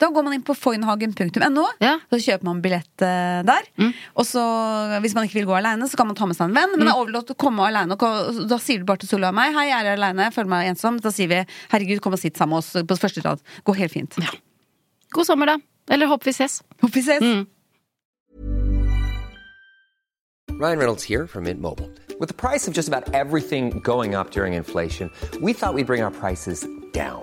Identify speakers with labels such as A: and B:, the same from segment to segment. A: Da går man inn på foynhagen.no,
B: Ja. Mm.
A: så kjøper man billett eh, der. Og så, hvis man ikke vil gå aleine, så kan man ta med seg en venn. Men
B: Mm.
A: det er overlatt å komme aleine. Da sier du bare til Solveig og meg 'Hei, jeg er aleine, føler meg ensom'. Da sier vi 'Herregud, kom og sitt sammen med oss på første rad'. Går helt fint.
B: God sommer, da. Eller håper vi ses.
A: Håper vi ses.
B: Mm.
C: Ryan Reynolds here from Mint Mobile. With the price of just about everything going up during inflation, we thought we'd bring our prices down.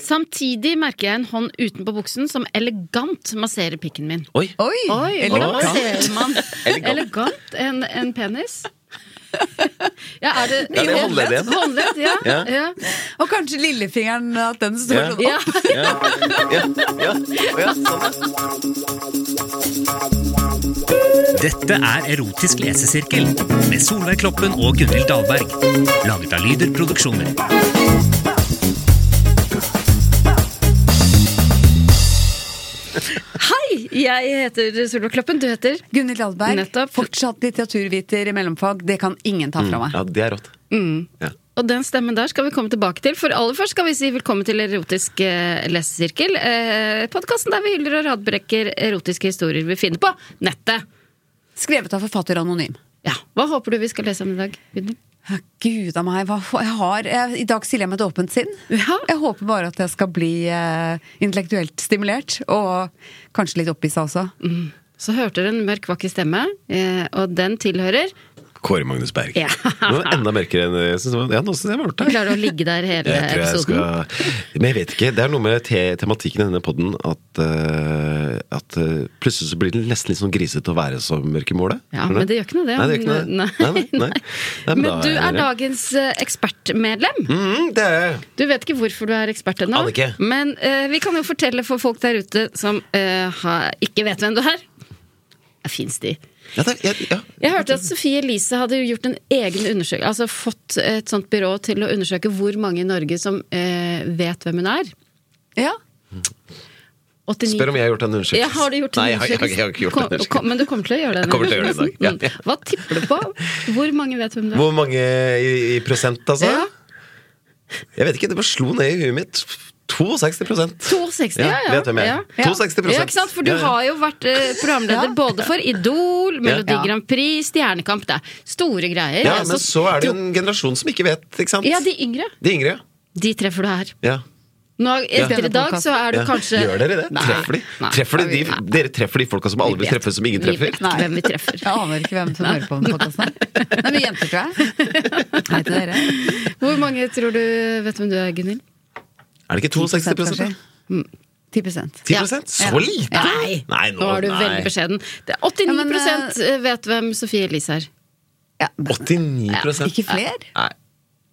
B: Samtidig merker jeg en hånd utenpå buksen som elegant masserer pikken min.
D: Oi!
A: Oi!
B: Oi, hvordan
A: elegant.
B: masserer man elegant en, en penis? Ja, er det
D: Ja, det er håndledd igjen.
B: Håndledd, ja. ja.
D: Ja.
A: Og kanskje lillefingeren, at den står
D: Ja.
A: sånn opp.
D: Ja, ja, ja, ja, sånn.
E: Dette er Erotisk lesesirkel med Solveig Kloppen og Gunhild Dahlberg. Laget av Lyder Produksjoner.
B: Hei, jeg heter Solveig Kloppen. Du heter
A: Gunhild Dahlberg,
B: Nettopp.
A: fortsatt litteraturviter i mellomfag. Det kan ingen ta fra meg.
D: Mm. ja det er rått.
B: Og den stemmen der skal vi komme tilbake til. For aller først skal vi si velkommen til Erotisk eh, lesesirkel. Eh, Podkasten der vi hyller og radbrekker erotiske historier vi finner på nettet.
A: Skrevet av forfatter anonym.
B: Ja, Hva håper du vi skal lese om i dag? Gunhild?
A: Ja, Gud av meg, hva jeg har jeg, I dag stiller jeg med et åpent sinn.
B: Ja.
A: Jeg håper bare at jeg skal bli eh, intellektuelt stimulert, og kanskje litt opphissa også.
B: Så hørte du en mørk, vakker stemme, eh, og den tilhører
D: Kåre Magnus Berg.
B: Ja.
D: Det var enda mørkere enn jeg synes det var. Ja, nå synes jeg var ordentlig.
B: Klarer å ligge der hele
D: Jeg tror jeg
B: episoden.
D: skal... Men jeg vet ikke. Det er noe med te tematikken i denne podden at, eh, at eh, plutselig så blir det nesten litt sånn grisete å være så mørk i målet.
B: Ja,
D: Tror du
B: men det gjør ikke noe, det.
D: Nei, det gjør ikke noe.
B: Nei,
D: Nei, nei, nei. Nei,
B: Men
D: da
B: du er
D: det-
B: dagens eh, ekspertmedlem.
D: Mm, det er jeg.
B: Du vet ikke hvorfor du er ekspert ennå.
D: Aner ikke.
B: Men eh, vi kan jo fortelle for folk der ute som eh, har, ikke vet hvem du er. Det fins de.
D: Ja, det er, jeg, ja.
B: Jeg hørte at Sofie Elise hadde jo gjort en egen undersøkelse, altså fått et sånt byrå til å undersøke hvor mange i Norge som eh, vet hvem hun er.
A: Ja.
B: 89
D: Spør om jeg har gjort en undersøkelse.
B: Ja, har du gjort en
D: Nei, jeg har- jeg har- jeg har ikke gjort en
B: Kom-
D: undersøkelse.
B: kom- Men du kommer til å gjøre det?
D: Jeg kommer til å gjøre det i dag, ja.
B: Mm. Hva tipper du på? Hvor mange vet hvem du er?
D: Hvor mange i, i prosent, altså?
B: Ja.
D: Jeg vet ikke, det bare slo ned i huet mitt. 62
B: 62, ja, ja.
D: Vet hvem jeg er.
B: Ja.
D: 62
B: Ja, ikke sant? For du
D: Ja, ja.
B: har jo vært eh, programleder
A: Ja.
B: både for Idol, Melodi
A: Ja.
B: Grand Prix, Stjernekamp. Det er store greier.
D: Ja,
B: Altså,
D: men så er det jo en generasjon som ikke vet, ikke sant?
B: Ja, de yngre.
D: De yngre,
B: De treffer du her.
D: ja.
B: Nå, etter
A: Denne
B: i dag så er du
D: ja.
B: kanskje
D: Gjør dere det? Treffer de?
B: Nei.
D: Treffer de, de,
B: Nei.
D: dere treffer de folka som aldri
B: Vi vet-
D: treffer, som ingen
B: vi
D: treffer?
B: vet ikke hvem vi treffer.
A: Jeg aner ikke hvem som hører på den podkasten. Det er mye jenter, tror jeg. Hei til dere.
B: Hvor mange tror du vet hvem du er, Gunhild?
D: Er det ikke 62 prosent?
A: kanskje? 10
D: 10
B: Ja.
D: Så lite?
B: Nei! Nå er du veldig beskjeden. Det er 89
A: Ja, men, eh,
B: vet hvem Sofie Elise er.
A: Ja.
D: 89 prosent?
A: Ikke fler?
D: Nei.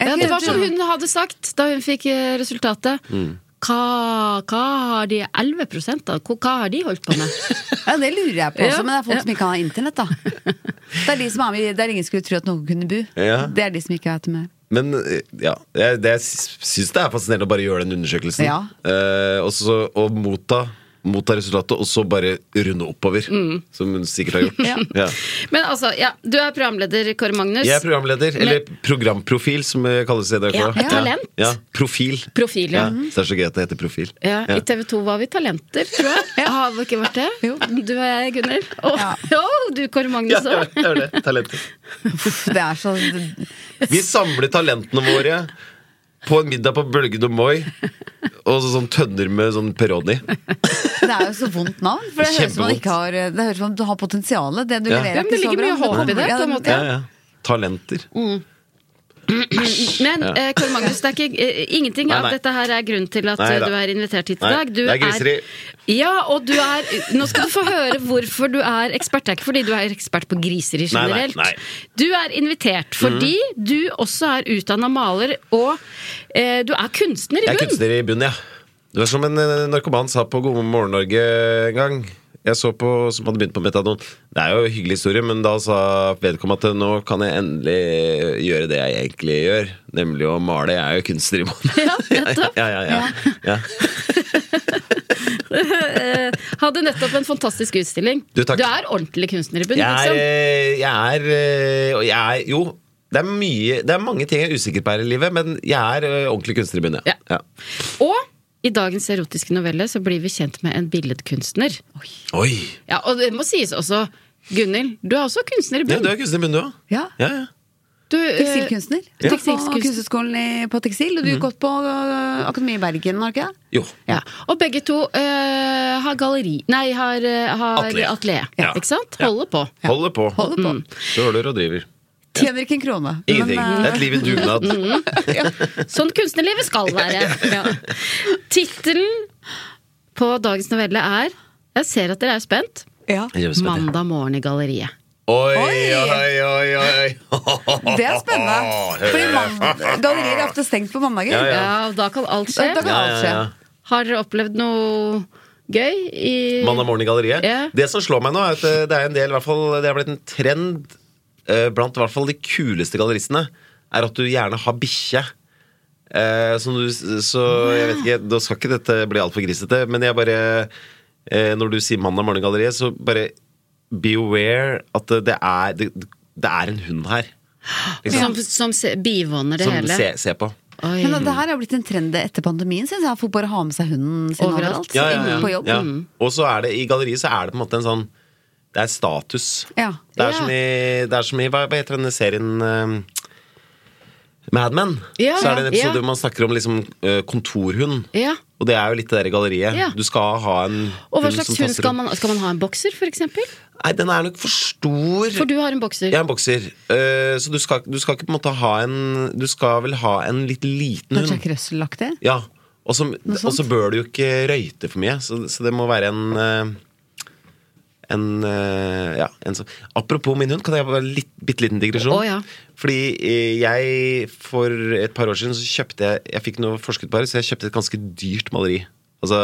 B: Ja,
A: Jeg
B: det var sånn
A: tror-
B: som
D: Mm.
B: hun hadde sagt da hun fikk eh, resultatet. Hva, hva har de 11 av? Hva, hva har de holdt på med?
A: Ja, Det lurer jeg på også,
B: Ja,
A: men det er folk
B: ja.
A: som ikke har internett, da. Det er de som er med, der ingen skulle tro at noen kunne bo.
D: Ja.
A: Det er de som ikke vet med.
D: Men eh, ja, jeg, det, jeg sy- syns det er fascinerende å bare gjøre den undersøkelsen.
A: Ja.
D: Eh, og så å motta, motta resultatet, og så bare runde oppover.
B: Mm.
D: Som hun sikkert har gjort. Ja.
B: Men altså, ja, du er programleder, Kåre Magnus.
D: Jeg er programleder, eller programprofil, som det kalles i NRK.
B: Ja, et talent.
D: Ja, profil.
B: Profil, ja.
D: Så det er så gøy at det heter profil.
B: Ja,
D: Ja.
B: I TV 2 var vi talenter, tror jeg. Har vi ikke vært det?
A: Jo.
B: Du og jeg, Gunnhild. Og og du, Kåre
D: Ja,
B: Magnus
D: ja,
B: òg.
D: det er det. Talenter.
A: Det er så
D: Vi samler talentene våre på en middag på Bølgen og Moi, og så sånn tønner med sånn Peroni.
A: Det er jo så vondt navn. For det høres ut som man
D: Kjempevondt.
A: ikke har Det høres ut som du har potensial. Det du
D: Ja.
A: leverer,
B: Ja,
A: er
B: men det
A: ikke så
B: ligger
A: bra.
B: mye håp i
A: kommer-
B: det,
A: ja,
B: på en måte.
D: Ja, ja. Talenter.
B: Men eh, Kåre Magnus, det er ikke, eh, ingenting
D: Nei,
B: av
D: nei.
B: dette her er grunnen til at
D: Nei
B: eh,
D: da.
B: du er invitert hit i
D: Nei,
B: dag. Du
D: det er griseri.
B: Ja, og du er Nå skal du få høre hvorfor du er ekspert. Det er ikke fordi du er ekspert på griseri
D: Nei, nei,
B: generelt.
D: nei. Mhm.
B: Du er invitert fordi du også er utdanna maler, og eh, du er kunstner i
D: Jeg er
B: bunn.
D: kunstner i bunnen, ja. Det var som en eh, narkoman sa på God morgen Norge en gang. Jeg så på, som hadde begynt på metadon. Det er jo en hyggelig historie, men da sa vedkommende at eh, nå kan jeg endelig eh, gjøre det jeg egentlig gjør, nemlig å male. Jeg er jo kunstner i bunnen.
B: Ja, nettopp.
D: Ja, ja, ja. ja.
B: Hadde nettopp en fantastisk utstilling.
D: Du, takk.
B: er ordentlig kunstner i bunn,
D: Jeg er,
B: liksom.
D: eh, jeg er, eh, og jeg er Jo, det er, mye, det er mange ting jeg er usikker på her i livet, men jeg er eh, ordentlig kunstner i bunnen,
B: Ja.
D: ja. ja.
B: Og i dagens erotiske novelle så blir vi kjent med en billedkunstner.
D: Oi!
B: Ja, og det må sies også, Gunhild, du er også kunstner i
D: Ja,
B: bunn.
D: du er kunstner i bunnen, du òg.
A: Ja.
D: Ja, ja.
B: Du, eh,
A: Tekstilkunstner. Du gikk på
B: Tekstilkunstner.
A: Kunsthøgskolen i- på tekstil, og
D: Mm.
A: du gikk på øh, Akademiet i Bergen, har du ikke det?
D: Jo.
B: Ja. Og begge to eh, har galleri Nei, har, eh, har
D: Atelier.
B: atelier.
D: Ja.
B: Ikke sant?
D: Ja.
B: Holder på.
D: Holder på.
A: Holder på.
D: Kjøler og driver.
A: Mm. Tjener ikke en krone.
D: Ingenting.
A: Men, Mm. øh,
D: Det er et liv i dugnad.
B: Sånn kunstnerlivet skal være. ja. Tittelen på dagens novelle er Jeg ser at dere er spent.
A: ja.
B: Mandag morgen i galleriet.
D: Oi,
A: Oi.
D: oi, oi, oi.
A: Det er spennende. Fordi man- gallerier er ofte stengt på mandager.
D: Ja,
B: Ja, og da kan alt
A: Da kan
B: skje.
A: alt skje.
B: Har dere opplevd noe gøy i
D: Mandag morgen i galleriet.
B: Ja.
D: Det som slår meg nå, er at eh, det er en del, i hvert fall, det er blitt en trend eh, blant i hvert fall de kuleste galleristene, er at du gjerne har bikkje. Eh, som du, så jeg vet ikke, da skal ikke dette bli altfor grisete, men jeg bare eh, Når du sier Mandag morgen i galleriet, så bare be aware at det er, det, det er en hund her.
B: Som,
D: Liksom,
B: som se- bivåner det
D: som
B: hele?
D: se, ser på.
B: Oi.
A: Men det her er blitt en trend etter pandemien, syns jeg. Folk bare har med seg hunden sin
B: Overalt.
A: overalt.
D: Ja, ja, ja.
A: På jobb.
D: Ja.
B: Mm.
D: Og så er det i galleriet så er det på en måte en sånn Det er status.
A: Ja.
D: Det er
B: Ja.
D: som i, det er som i hva, hva heter denne serien eh, Mad Men.
B: Ja,
D: så er det en
B: ja.
D: episode hvor man snakker om liksom, eh, kontorhund.
B: Ja.
D: Og det er jo litt det der i galleriet.
B: Ja.
D: Du skal ha en
B: Og hva
D: hund
B: slags
D: som
B: hund
D: passer
B: skal
D: rundt.
B: man Skal man ha en bokser, for eksempel?
D: Nei, den er nok for stor.
B: For du har en bokser.
D: Jeg er en bokser, eh, så du skal, du skal ikke på en måte ha en Du skal vel ha en litt liten
A: Noe
D: hund.
A: Jack Russell-aktig.
D: Ja, og så, og så bør du jo ikke røyte for mye, så, så det må være en eh, en, eh, ja, en som, apropos min hund, kan jeg bare litt, bitte liten digresjon?
B: Å, ja.
D: Fordi eh, jeg for et par år siden så kjøpte jeg Jeg fikk noe forskutbare, så jeg kjøpte et ganske dyrt maleri. Altså,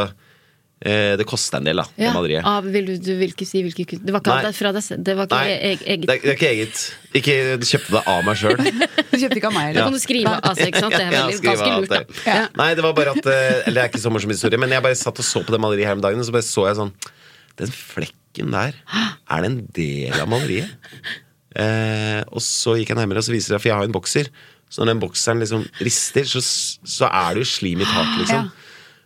D: eh, det kosta en del, da, det
B: Ja.
D: maleriet.
B: Av, vil du, du vil ikke si hvilken kunst Det var ikke
D: Nei.
B: alt fra deg selv? Det var ikke
D: Nei,
B: e- eget
D: det er, det er ikke eget. Ikke kjøpte det av meg sjøl.
A: Du kjøpte ikke av meg,
B: Da
A: eller?
B: kan du skrive av seg, altså, ikke sant? Det er
D: Ja,
B: veldig,
D: skrive
B: ganske
D: alt
B: lurt, da.
D: det. Nei, det var bare at eh, Eller det er ikke så morsom historie, men jeg bare satt og så på det maleriet her om dagen, og så bare så jeg sånn Den flekken der, er det en del av maleriet? Eh, og så gikk jeg nærmere, og så viser det seg, for jeg har jo en bokser. Så når den bokseren liksom rister, så, så er det jo slim i taket, liksom.
A: Ja.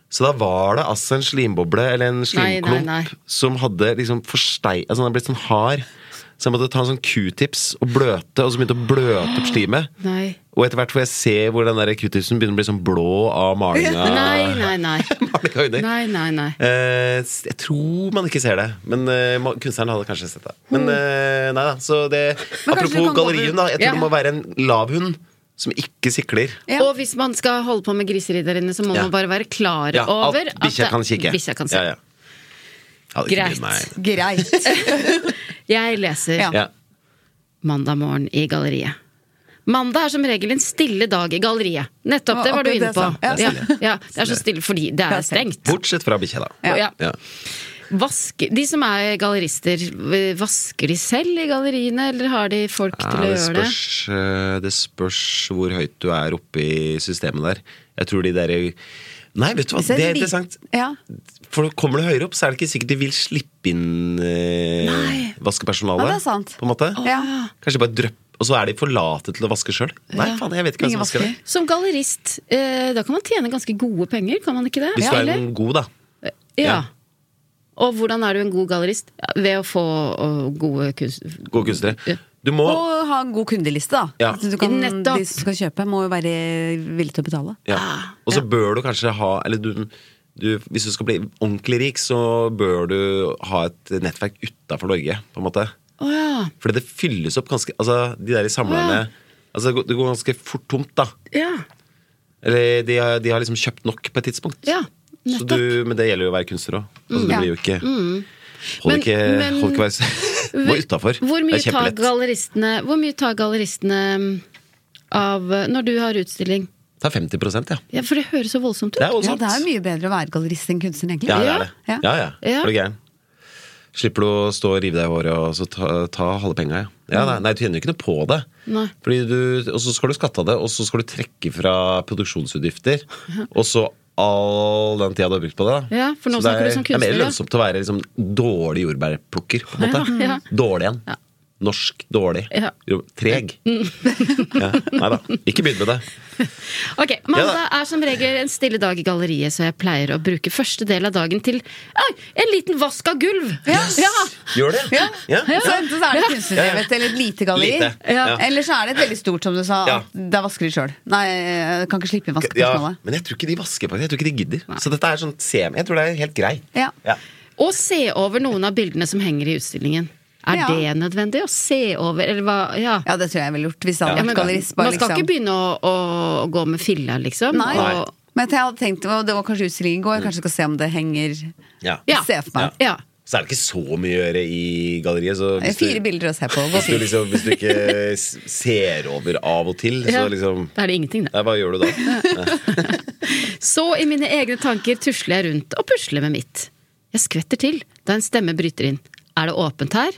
D: Så da var det altså en slimboble eller en
B: Nei, nei,
D: slimklump
B: nei.
D: som hadde liksom forstei... Altså den hadde blitt sånn hard. Så jeg måtte ta en sånn q-tips og bløte, og så begynte jeg å bløte opp slimet.
B: Nei.
D: Og etter hvert får jeg se hvor den der q-tipsen begynner å bli sånn blå av malinga.
B: Nei, nei, nei.
D: Malinga under.
B: Nei, nei, nei.
D: Eh, s- jeg tror man ikke ser det, men eh, ma- kunstneren hadde kanskje sett det. Men
B: Mm.
D: eh, nei da, så det
A: Men kanskje du
D: Apropos
A: kan gå
D: gallerihund, da. Jeg tror
B: Ja.
D: det må være en lav hund som ikke sikler.
A: Ja.
B: Og hvis man skal holde på med griseri der inne, så må
D: Ja.
B: man bare være klar
D: Ja, at
B: over at
D: bikkja
B: det-
D: kan kikke.
B: bikkja kan se.
D: Ja, ja. Hadde ikke brydd
B: Greit.
D: meg.
A: Greit.
B: Jeg leser
A: Ja.
D: Ja.
B: Mandag morgen i galleriet. Mandag er som regel en stille dag i galleriet. Nettopp, det var du
A: Akkurat
B: inne
A: det
B: på.
A: jeg sa. Ja,
B: Ja, ja, det er så stille fordi det
A: Det
B: er
A: er
B: stengt.
D: Bortsett fra bikkja, da.
B: Ja.
D: Ja.
B: Vask, de som er gallerister, v- vasker de selv i galleriene, eller har de folk til å
D: det,
B: gjøre det?
D: spørs, eh, det spørs hvor høyt du er oppe i systemet der. Jeg tror de der Nei, vet du hva,
A: Så
D: det er
A: vi-
D: interessant.
A: Ja.
D: For kommer du høyere opp, så er det ikke sikkert de vil slippe inn eh,
A: Nei.
D: vaskepersonalet.
A: Ja, det er sant.
D: På en måte.
A: Ja.
D: Kanskje bare drøpp, og så er de for late til å vaske sjøl. Nei, faen, jeg vet ikke hvem
A: Ingen
D: som vasker det.
A: vasker.
B: Som gallerist, eh, da kan man tjene ganske gode penger, kan man ikke det?
D: Hvis du er
B: Eller?
D: en god, da.
B: ja.
D: ja.
B: Og hvordan er du en god gallerist? Ja, Ved å få å, gode kunst...
D: God
B: Ja.
D: kunstnere. Du må
A: Og ha en god kundeliste, da.
D: Ja.
A: Så du kan,
B: Nettopp.
A: de som skal kjøpe, må jo være villige til å betale.
D: Ja. Og så bør du kanskje ha Eller du, du, hvis du skal bli ordentlig rik, så bør du ha et nettverk utafor Norge, på en måte.
B: Å ja.
D: Fordi det fylles opp ganske Altså, de der i samlerne Altså, det går- det går ganske fort tomt, da.
B: Ja.
D: Eller de har, de har liksom kjøpt nok på et tidspunkt.
B: ja.
D: så
B: Nettopp. Mm.
D: du, men det gjelder jo å være kunstner òg. Altså, du
A: Ja.
D: blir jo ikke Hold
B: Men-
D: ikke,
B: men-
D: hold ikke være Må utafor.
B: Hvor
D: Det
B: mye
D: er
B: tar
D: kjempelett.
B: galleristene Hvor mye tar galleristene mm, av eh, Når du har utstilling?
D: Ta 50 ja.
B: Ja, for det høres så voldsomt ut.
D: Det er
A: Ja,
D: voldsomt.
A: det er jo mye bedre å være gallerist enn kunstner, egentlig.
D: Ja, det er det.
A: Ja.
D: Ja, ja.
B: Ja.
D: Er du gæren? Slipper du å stå og rive deg i håret og så ta, ta halve penga, ja. ja nei, nei, du tjener jo ikke noe på det.
B: Nei.
D: Fordi du, og så skal du skatte av det, og så skal du trekke fra produksjonsutgifter. Og så all den tida du har brukt på det. da.
B: Ja, for nå
D: Så det
B: snakker du
D: er-
B: som
D: Det er
B: kunstner, ja.
D: mer lønnsomt å være liksom, dårlig jordbærplukker, på en måte.
B: Ja, ja.
D: Dårlig en.
B: Ja.
D: Norsk dårlig.
B: Ja. Mm.
D: Jo, Treg. Ja. Nei da, ikke begynn med det.
B: Ok,
D: Ja
B: Mandag
D: da.
B: er som regel en stille dag i galleriet, så jeg pleier å bruke første del av dagen til Oi, en liten vask av gulv! Ja.
D: Gjør det.
A: Ja.
D: Ja.
A: Så enten så er det
D: Ja,
A: kunstnerdrevet
D: ja.
A: eller et lite galleri.
D: Lite.
B: Ja.
A: Eller så er det et veldig stort, som du sa.
D: Ja.
A: at Da vasker de sjøl. Nei, jeg kan ikke slippe inn
D: Ja,
A: vaskepersonalet.
D: men jeg tror ikke de vasker faktisk. Jeg tror ikke de gidder. Så dette er sånn semi. Jeg tror det er helt grei.
A: Ja.
B: Og se over noen av bildene som henger i utstillingen. Er
A: Ja.
B: det nødvendig å se over, eller hva? Ja.
A: Ja, det tror jeg jeg ville gjort. Hvis jeg
D: Ja,
A: hadde
B: men
A: vært gallerist.
B: man
A: Bare,
B: skal ikke
A: liksom.
B: begynne å, å, å gå med filla, liksom.
A: Nei.
B: Og,
A: Men jeg hadde tenkt, og det var kanskje utstillingen i
D: Mm.
A: går, jeg kanskje skal se om det henger
D: Ja.
B: Ja.
A: Se for meg.
B: ja.
D: Så er det ikke så mye å gjøre i galleriet. Så hvis
A: Fire
D: du,
A: bilder å se på. Gå
D: hvis du,
A: fint.
D: liksom, hvis du ikke s- ser over av og til,
B: Ja.
D: så liksom
B: Da er det ingenting, det.
D: Nei, hva gjør du da?
B: Så i mine egne tanker tusler jeg rundt og pusler med mitt. Jeg skvetter til da en stemme bryter inn. Er det åpent her?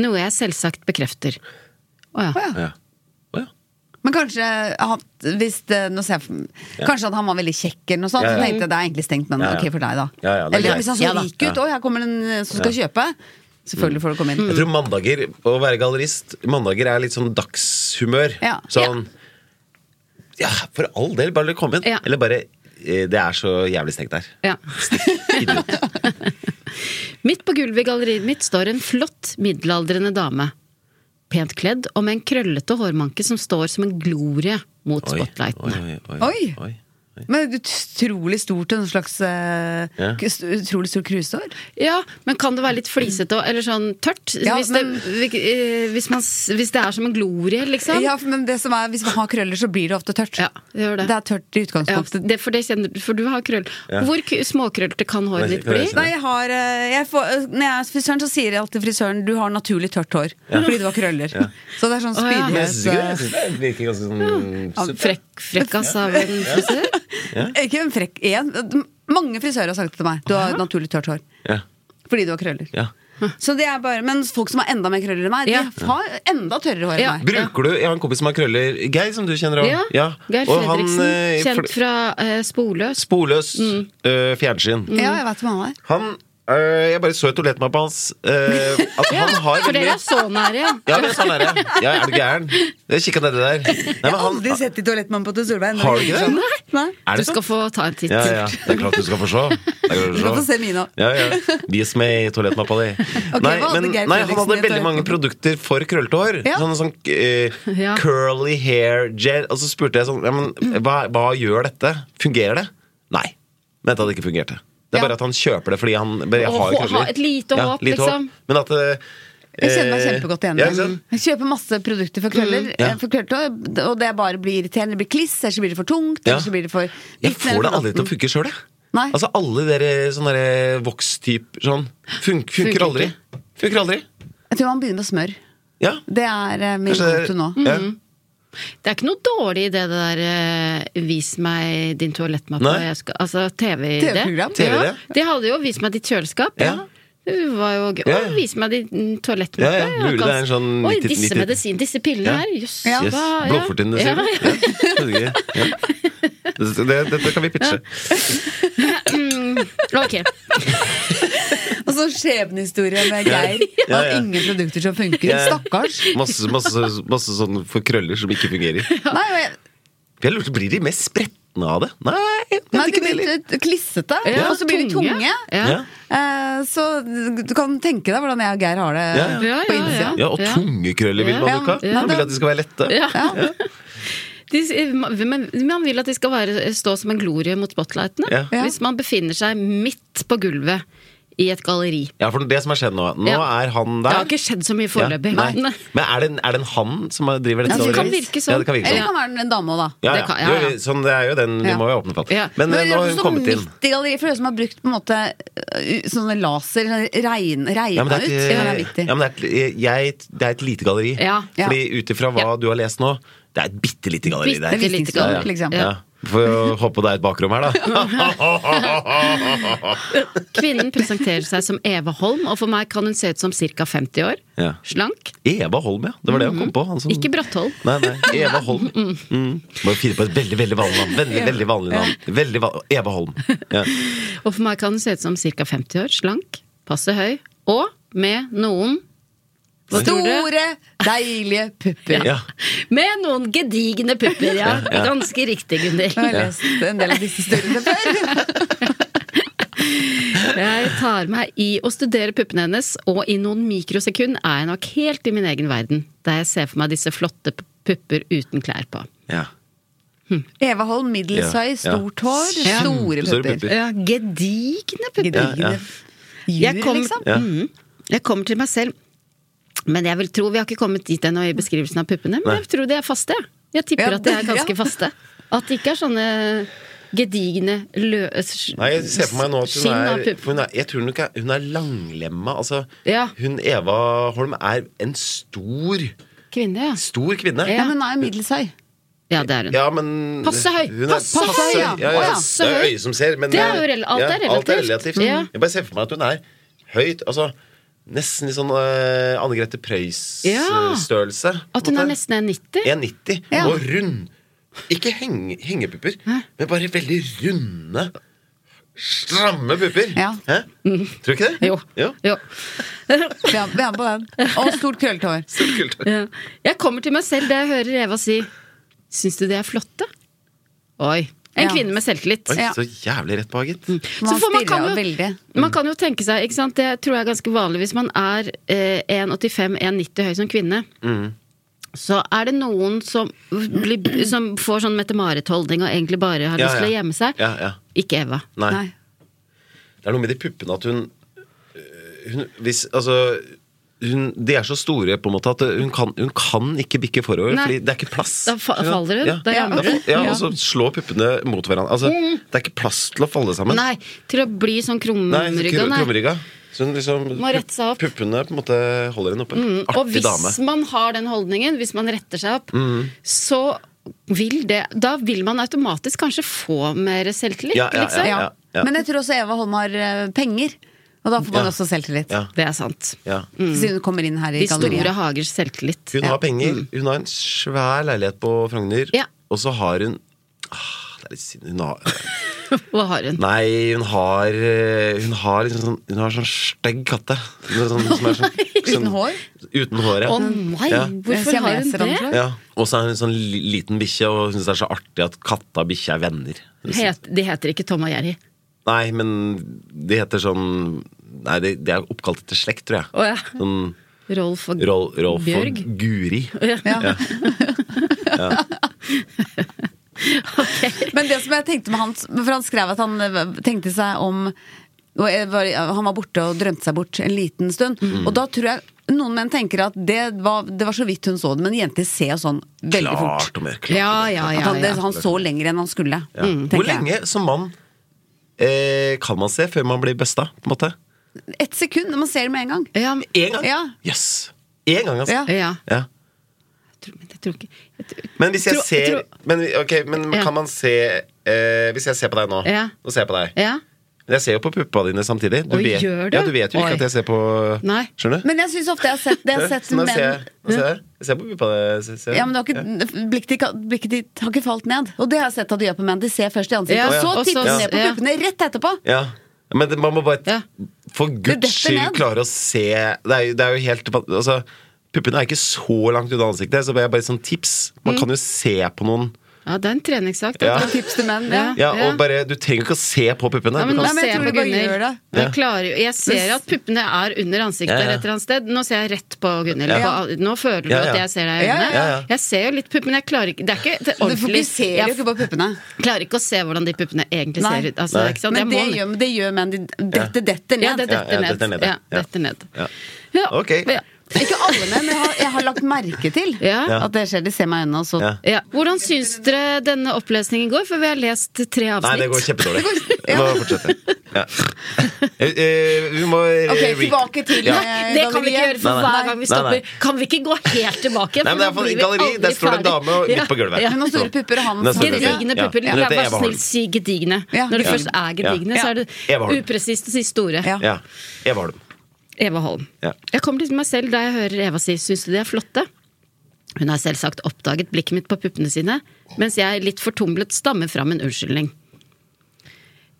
B: Noe jeg selvsagt bekrefter. Å ja.
A: Å ja.
D: Ja. Å ja.
A: Men kanskje han, hvis det, nå ser jeg, for- Kanskje at han var veldig kjekk, eller noe sånt.
D: Ja, ja.
A: Så tenkte jeg det er egentlig stengt, men
D: Ja, ja.
A: ok for deg, da.
D: Ja, ja, det er
A: eller
D: greit.
A: hvis han så
D: Ja, da.
A: rik ut,
D: Ja.
A: å, her kommer en eh, som skal kjøpe. Selvfølgelig får du komme inn.
D: Jeg tror mandager, å være gallerist, mandager er litt sånn dagshumør.
A: Ja.
D: Sånn Ja, for all del, bare kom inn.
B: Ja.
D: Eller bare eh, Det er så jævlig stengt der.
B: ja.
D: Idiot.
B: Midt på gulvet i galleriet mitt står en flott, middelaldrende dame. Pent kledd og med en krøllete hårmanke som står som en glorie mot
D: Oi,
B: spotlightene.
A: Oi. Men utrolig stort en slags eh,
D: Ja.
A: kus- Utrolig stort krusår.
B: Ja, men kan det være litt flisete og eller sånn tørt?
A: Ja,
B: hvis,
A: men-
B: det, eh, hvis, man, s- hvis det er som en glorie, liksom?
A: Ja, men det som er, hvis man har krøller, så blir det ofte tørt.
B: Ja, det gjør det.
A: er tørt i
B: Ja,
A: utgangspunktet.
B: det, for, det kjenner, for du har krøll.
D: Ja.
B: Hvor k- småkrøllete kan håret
D: Nei,
B: ditt
D: kan
B: bli?
D: jeg kjenne?
A: Nei, jeg har eh, jeg får, eh, Når jeg er hos frisøren, så sier jeg alltid frisøren du har naturlig tørt hår. Fordi du har krøller. Så det er sånn
B: Å, ja. Mm.
D: Men jeg
A: spydighet.
D: syns ikke det. Jeg synes det virker ganske sånn
B: Ja, Frekk, frekkas av en frisør?
A: eh, Ikke en frekk en. Mange frisører har sagt det til meg. Du har naturlig tørt hår.
D: Ja.
A: Fordi du har krøller.
D: Ja.
A: Så det er bare, Men folk som har enda mer krøller enn meg,
B: Ja.
A: de har enda tørrere hår
B: Ja.
A: enn meg.
D: Bruker du Jeg har en kompis som har krøller. Geir, som du kjenner òg.
B: Ja. Geir Fredriksen, kjent fra Mm. eh, Sporløs.
D: eh, Sporløs øh, fjernsyn.
A: Ja, jeg vet hvem han er.
D: Han øh, Jeg bare så et toalettmappe hans. øh, at han har
B: For dere
D: veldig
B: er så nære, ja.
D: ja, men sånn er det. Ja, er du gæren? Jeg kikka nedi der. Nei,
A: Jeg
D: men
A: har
D: han,
A: aldri sett i toalettmannen på Tø Solveig.
D: Har du ikke det?
A: Nei.
D: er
B: Du
D: det
B: skal
D: sånn?
B: få ta en titt.
D: Ja, ja. Det er klart du skal få se. Det er klart
A: Du skal få
D: se.
A: se mine òg.
D: Ja, ja. Vis meg toalettmappa di.
A: Ok,
D: nei,
A: hva hadde Geir
D: nei, han
A: Fredriksen
D: hadde
A: i
D: veldig mange
A: toalettmappa?
D: produkter for krøllete hår.
A: Ja.
D: Sånne sånn eh,
B: Ja.
D: curly hair gel. Og så spurte jeg sånn ja, men, hva, hva gjør dette? Fungerer det? Nei. Men dette hadde ikke fungert. Det Det er
A: Ja.
D: bare at han kjøper det fordi han bare
B: Og
D: har
B: hå-
D: krøller.
B: ha et lite håp, liksom.
D: Men at eh,
A: Jeg kjenner meg
D: eh,
A: kjempegodt igjen.
D: ja,
A: i
D: ikke
A: det.
D: sant? Mm,
A: jeg kjøper masse produkter for krøller,
D: Ja.
A: eh, for krøllete hår, og det bare blir irriterende. Det blir kliss, eller så blir det for tungt,
D: Ja.
A: eller så blir det for
D: Jeg
A: liten,
D: får
A: eller
D: det
A: for
D: aldri til å
A: natten.
D: funke sjøl, jeg.
A: Nei.
D: Altså alle dere sånne der vokstyper sånn fun funker,
B: Funker
D: aldri.
B: ikke.
D: Funker aldri.
A: Jeg tror man begynner med smør.
D: Ja.
A: Det er eh, min
D: Kanskje det
A: kvote
D: er-
A: nå.
D: Ja.
B: Det er ikke noe dårlig idé, det der eh, 'vis meg din toalettmappe',
D: Nei.
B: og jeg skal, altså TV-idé.
A: TV-program.
D: TV-idé.
B: Ja, det hadde jo 'vis meg ditt kjøleskap'.
D: Ja.
B: Det var jo gøy.
D: Ja,
B: Å,
D: ja.
B: 'vis meg din mm, toalettmappe'.
D: Ja, ja, mulig
B: kan-
D: det er en sånn
B: Oi,
D: 90
B: disse
D: 90
B: medisin, disse pillene
D: Ja.
B: her. Jøss.
A: Ja.
D: Yes.
B: hva- ja.
D: Blodfortynnende, sier
B: Ja,
D: du?
B: ja.
D: Ja. Ja. Det- det- Dette kan vi pitche.
B: Ok.
A: Og sånn skjebnehistorie med Geir. Han
D: Ja,
A: har
D: ja.
A: ingen produkter som funker.
D: Ja.
A: Stakkars.
D: Masse, masse, masse sånn for krøller som ikke fungerer.
A: Nei, men-
D: Jeg lurte, Blir de mest spretne av det? Nei, jeg vet
A: nei
D: ikke
A: de
D: det
A: blir
D: heller.
A: litt klissete,
B: Ja,
A: og så blir de
B: tunge.
A: tunge.
D: Ja.
A: Eh, Så du kan tenke deg hvordan jeg og Geir har det
D: Ja, ja.
B: Ja,
A: på
B: ja,
A: innsida.
D: Ja, og
B: Ja.
D: tungekrøller vil man jo ikke ha.
A: Ja.
D: Man vil at de skal være lette.
B: Ja. De, eh, men man vil at de skal være, eh, stå som en glorie mot spotlightene.
D: Ja.
A: Ja.
B: Hvis man befinner seg midt på gulvet i et galleri.
D: Ja, for det som har skjedd nå Nå
B: Ja.
D: er han
B: Det
D: der.
B: har ikke skjedd så mye
D: Ja,
B: foreløpig.
D: nei.
B: men-
D: Men er det, en- er det en han som driver dette?
A: Ja, det kan
D: galleriet?
B: virke sånn.
D: Ja, det kan virke
A: Eller det
D: sånn.
A: kan være en dame òg, da.
D: Ja,
B: Det
D: ja.
B: kan- ja, ja.
D: Jo, Sånn, det er jo den vi
A: Ja.
D: må jo åpne for.
B: Ja.
D: Men eh, nå har hun
A: sånn
D: kommet inn.
A: midt i galleri, for det som har brukt på en måte øh, sånne laser, regn,
D: Ja, men
A: regna
D: det
A: ut.
D: er, ikke,
A: Ja, det er viktig.
D: ja, men det, er, et- jeg, det er et lite galleri.
B: Ja.
A: Ja.
D: Fordi ut ifra hva
B: Ja.
D: du har lest nå, det er et bitte lite galleri.
B: Bitte
D: der.
A: Det er
B: lite
A: visningsrom,
B: galleri,
A: liksom.
B: ja.
D: Ja. Får håpe det er et bakrom her, da.
B: Kvinnen presenterer seg som Eva Holm, og for meg kan hun se ut som ca. 50 år.
D: Ja.
B: Slank.
D: Eva Holm, ja. Det var det jeg kom på. Han som...
B: Ikke Brattholm.
D: Nei, nei. Eva Holm. Mm. Må jo finne på et veldig veldig vanlig navn. Veldig, veldig vanlig navn. Veldig va Eva Holm. Ja.
B: Og for meg kan hun se ut som ca. 50 år. Slank. Passe høy. Og med noen Hva tror du?
A: Store, deilige pupper.
D: Ja.
B: Med noen gedigne pupper, ja. Ganske riktig,
A: Jeg har
B: Gunhild.
A: lest en del av disse historiene før.
B: Jeg tar meg i å studere puppene hennes, og i noen mikrosekund er jeg nok helt i min egen verden, der jeg ser for meg disse flotte p- pupper uten klær på.
D: Ja.
A: Eva Holm, middels
D: Ja,
A: høy,
D: ja.
A: stort hår, store
D: Store
A: pupper.
D: pupper.
B: Ja, gedigne pupper.
A: Gedigne
D: Ja, ja.
B: Jeg
A: jur,
B: kom- Mm.
A: liksom.
D: Ja.
B: Jeg kommer til meg selv, men jeg vil tro vi har ikke kommet dit ennå i beskrivelsen av puppene. Men jeg tror de er faste. jeg. Jeg tipper
A: Ja,
B: at de er
A: det-
B: ganske
A: ja.
B: faste. At det ikke er sånne gedigne lø... s-
D: Nei, jeg ser for meg nå at hun
B: skinn av
D: er,
B: pupp.
D: for hun er Jeg tror nok er- hun er langlemma. Altså,
B: Ja.
D: hun Eva Holm er en stor,
B: Kvinne, ja.
D: stor kvinne.
B: Ja.
A: Ja, men hun er jo middels høy.
B: Ja, det er hun.
D: Ja, men
B: Passe høy.
D: Hun er
B: Passe høy,
A: ja.
D: Ja, ja.
B: Passe
D: Det er
B: høy.
D: øyet som ser, men
B: Det er jo rel- alt er
D: Alt er
B: relativt.
D: relativt.
B: Ja.
D: Jeg bare ser for meg at hun er høyt Altså nesten litt sånn eh, Anne
B: Ja.
D: Grete Preus-størrelse.
B: At hun er nesten 1,90?
D: 1,90
A: Ja.
D: og rund. Ikke henge, hengepupper, men bare veldig runde, stramme pupper.
A: Ja.
D: Hæ? Tror du ikke det?
B: Mm. Jo. jo.
A: Vi er vi er på den. Og stort krøllete hår.
D: Så kult.
B: Ja. Jeg kommer til meg selv da jeg hører Eva si Syns du de er flotte? Oi. En
A: Ja.
B: kvinne med selvtillit.
D: Oi,
A: Ja.
D: Så jævlig rett på, gitt.
B: Så
A: Man
B: får man, kan
A: stirrer
B: jo,
A: jo
B: Mm.
A: veldig.
B: man kan jo tenke seg, ikke sant? det tror jeg er ganske vanlig hvis man er eh, 1,85-1,90 høy som kvinne.
D: Mm.
B: Så er det noen som, blir, som får sånn Mette-Marit-holdning og egentlig bare har
D: Ja,
B: lyst til å
D: ja.
B: gjemme seg.
D: Ja, ja.
B: Ikke Eva.
D: Nei.
A: Nei.
D: Det er noe med de puppene at hun, hun Hvis Altså hun, de er så store på en måte at hun kan, hun kan ikke bikke forover,
B: Nei.
D: fordi det er ikke plass.
B: Da fa- faller hun,
D: Ja,
B: da
D: ja,
B: jammer hun.
D: ja,
B: Ja. Mm.
D: og så slår puppene mot hverandre. Altså, Det er ikke plass til å falle sammen.
B: Nei, til å bli sånn krumrygga.
D: kro-
B: nei.
D: krumrygga. Så hun liksom
B: Må rette seg opp. Mm,
D: Puppene på en måte holder henne oppe.
B: Og
D: Artig
B: hvis
D: dame. Mm.
B: man har den holdningen, hvis man retter seg opp, så vil det Da vil man automatisk kanskje få mer selvtillit,
D: Ja, ja, ja,
B: liksom.
A: Ja.
D: ja.
A: Men jeg tror også Eva Holm har eh, penger, og da får man
D: Ja.
A: også selvtillit.
D: Ja.
B: Det er sant.
D: Ja.
A: Siden hun kommer inn her i
B: Mm. De store
A: galleriet.
B: hagers selvtillit.
D: Hun har penger. Hun har en svær leilighet på Frogner,
B: Mm. Ja.
D: og så har hun ah, Det er litt synd. Hun har
B: Hva har hun?
D: Nei, hun har eh, Hun har liksom sånn Hun har sånn stygg katte. Hun er Sånn, som er sånn,
A: Uten
D: sånn-
A: hår?
D: Uten hår, ja.
B: Å nei,
D: Ja.
B: hvorfor har hun
A: Siameser,
B: det?
A: antar jeg.
D: ja. Og så er hun en sånn li- liten bikkje, og hun syns det er så artig at katta og bikkja er venner. Hun syns-
B: Het, de heter ikke Tom og Jerry.
D: Nei, men de heter sånn Nei, de, de er oppkalt etter slekt, tror jeg.
B: Å ja.
D: Sånn
B: Rolf og
D: Rol, Rolf
B: Bjørg.
D: og Guri.
A: Ja. Men det som jeg tenkte med han For han skrev at han eh, tenkte seg om og jeg var, eh, Han var borte og drømte seg bort en liten stund.
D: Mm.
A: Og da tror jeg noen menn tenker at det var, det var så vidt hun så det, men jenter ser jo sånn veldig
D: Klart
A: fort.
D: og mer klart.
B: Ja, mm, ja,
A: At
B: ja.
A: han, det,
B: ja.
A: han så lenger enn han skulle.
D: Ja. Hvor lenge som mann eh, kan man se før man blir busta, på en måte?
A: Jeg. Ett sekund. Man ser det med en gang.
B: ja.
D: Én gang?
A: Ja.
D: Jøss! Én gang, altså.
A: Ja.
B: ja.
D: Ja.
B: tror, men jeg tror ikke jeg tror,
D: Men hvis jeg
B: Tro-
D: ser
B: tro-
D: Men, ok, men
B: Ja.
D: kan man se eh, Hvis jeg ser på deg nå
B: Ja.
D: Nå ser jeg på deg
B: Ja?
D: Men jeg ser jo på puppa dine samtidig du
B: Oi,
D: vet,
B: gjør du?
D: Ja, du vet jo ikke
B: Oi.
D: at jeg ser på
B: Nei.
D: Skjønner du?
A: Men jeg syns ofte jeg har sett det. Jeg har sett
D: Så nå
A: menn
D: ser jeg, nå ser jeg, jeg ser på puppa di se- ser jeg.
A: ja, men du har ikke, blikket, ditt- blikket ditt har ikke falt ned. Og det har jeg sett at du gjør på menn. De ser først i ansiktet,
B: Ja,
A: og så
B: og så-
A: titter de ned på
B: ja.
A: puppene rett etterpå.
D: Ja. Men det, man må bare
B: Ja.
D: for
A: detter
D: guds skyld
A: ned.
D: klare å se Det er jo, det er jo helt altså, Puppene er ikke så langt unna ansiktet, så det er bare et sånt tips. Man kan jo se på noen.
B: ja, det er en treningssak. Det
D: Ja.
B: er
A: Tips til menn. Ja.
D: Ja, og bare, Du trenger ikke å se på puppene.
B: Ja, men
D: Du
B: nå
D: kan-
A: Nei, men jeg
B: ser jeg
A: tror
B: på
A: du bare gjør
B: Gunnhild.
A: det.
B: Jeg, klarer jo- jeg ser at puppene er under ansiktet
D: Ja, ja.
B: et eller annet sted. Nå ser jeg rett på Gunnhild.
D: Ja.
B: På- Nå føler du
D: Ja, ja.
B: at jeg ser deg i
A: Ja, ja,
B: øynene.
D: ja. Ja, ja.
B: Jeg ser jo litt pupp, men jeg klarer ikke Det er ikke det er
A: Du
B: ordentlig.
A: fokuserer jo
B: Jeg
A: ikke på puppene.
B: klarer ikke å se hvordan de puppene egentlig
A: Nei.
B: ser ut. Altså,
D: Nei.
B: ikke sant? Jeg
A: Men det
B: må-
A: gjør, det gjør menn. De detter, detter
B: ja, det
A: ned.
B: detter
D: Ja, ja,
B: ned.
D: detter ned,
B: Ja,
D: ja.
B: detter ned.
D: Ja.
B: Ja.
D: Ok.
B: Ja.
A: Ikke alle menn, men jeg har, jeg har lagt merke til
B: Ja.
A: at det skjer. De ser meg i øynene, og så
D: Ja.
B: Ja. Hvordan syns dere denne opplesningen går? For vi har lest tre avsnitt.
D: Nei, det går kjempedårlig. Jeg må fortsette. Ja. Eh, eh, Vi må eh,
A: Ok,
D: re-
A: tilbake til
D: Ja.
A: eh,
B: Det kan vi ikke
A: galleriet.
B: gjøre, for
D: Nei, nei.
B: hver gang vi
D: Nei,
B: stopper
D: nei.
B: Kan vi ikke gå helt tilbake?
D: Nei, men det
B: for
D: er
B: da
D: for- i
B: blir vi
D: galleri, der
B: aldri
D: står det en
B: ferdig.
D: dame og midt på gulvet.
A: Hun har store pupper, og han
D: Nesten
A: store
D: perfekt.
B: Gedigne
D: Ja.
B: pupper.
D: Ja.
B: La-
D: Dette er
B: Vær så
D: Eva Holm.
B: snill, si gedigne.
A: Ja.
B: Når det
A: Ja.
B: først er gedigne,
A: Ja.
B: så er
D: Eva Holm.
B: det upresist å si store.
A: Ja.
D: Ja. Eva Holm.
B: Eva Holm.
D: Ja.
B: Jeg kommer til meg selv da jeg hører Eva si 'syns du de er flotte'? Hun har selvsagt oppdaget blikket mitt på puppene sine, mens jeg litt fortumlet stammer fram en unnskyldning.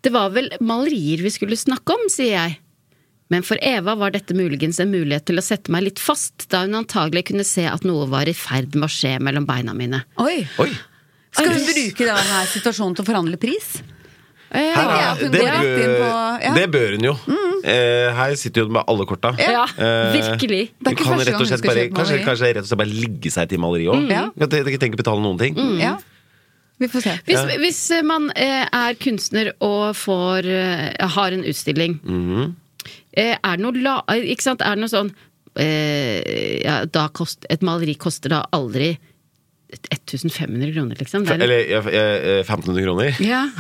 B: Det var vel malerier vi skulle snakke om, sier jeg. Men for Eva var dette muligens en mulighet til å sette meg litt fast, da hun antagelig kunne se at noe var i ferd med å skje mellom beina mine.
A: Oi.
D: Oi!
A: Skal hun bruke denne situasjonen til å forhandle pris?
D: Her
A: Ja,
D: er,
A: hun
D: det,
A: går rett inn
D: bør,
A: på- ja. Mm.
D: det bør hun jo. Eh, Her sitter hun med alle korta.
B: Ja,
D: Eh,
B: virkelig.
A: Det er
D: Hun
A: ikke
D: kan
A: første
D: rett
A: gang hun
D: og slett
A: skal
D: bare,
A: kjøpe
D: kanskje,
A: maleri.
D: kanskje rett og slett bare ligge seg til maleri òg.
A: Ja. Mm.
D: Ikke tenke å betale noen ting.
B: Mm.
A: Ja. Vi får se.
B: Hvis, hvis man eh, er kunstner og får, eh, har en utstilling,
D: Mhm.
B: eh, er det noe la... Ikke sant? Er det noe sånn eh, ja, da kost, Et maleri koster da aldri 1500 kroner, liksom. Det er,
D: Eller eh, eh, 1500 kroner.
B: ja.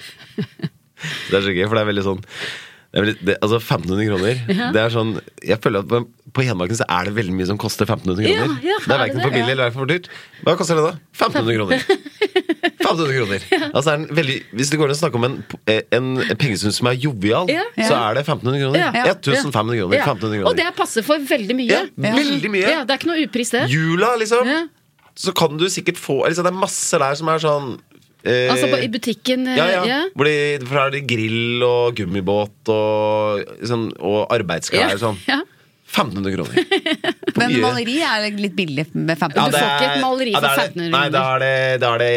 D: Det er så gøy, for det er veldig sånn det er veldig, det, altså 1500 kroner Det er sånn, jeg føler at på, på Hedmarken så er det veldig mye som koster 1500
B: Ja,
D: kroner
B: ja,
D: Det
B: er det
D: er hverken for
B: det?
D: billig eller hverken for dyrt Hva koster det da? 1500 kroner 1500 kroner altså er den veldig, Hvis det går an å snakke om en, en pengesum som er jovial
B: Ja.
D: Så er det 1500 kroner
B: Ja.
D: 1500 kroner,
B: Ja.
D: 1500
B: Og
D: kroner
B: det er passe for veldig mye.
D: Ja, veldig mye.
B: Ja, det er ikke noe upris, det.
D: Jula liksom
B: Ja.
D: Så kan du sikkert få liksom, Det er masse der som er sånn eh,
B: Altså på, i butikken. eh,
D: Ja, ja. Hvor de, for her er det grill og gummibåt og, sånn, og arbeidsklær og sånn.
B: Ja.
D: 1500 kroner. For
A: Men
D: mye.
A: maleri er litt billig med 15
B: du
D: det
B: får ikke et
D: er-
B: maleri for
D: da er det-
B: 1500
D: Nei, da er det da er det,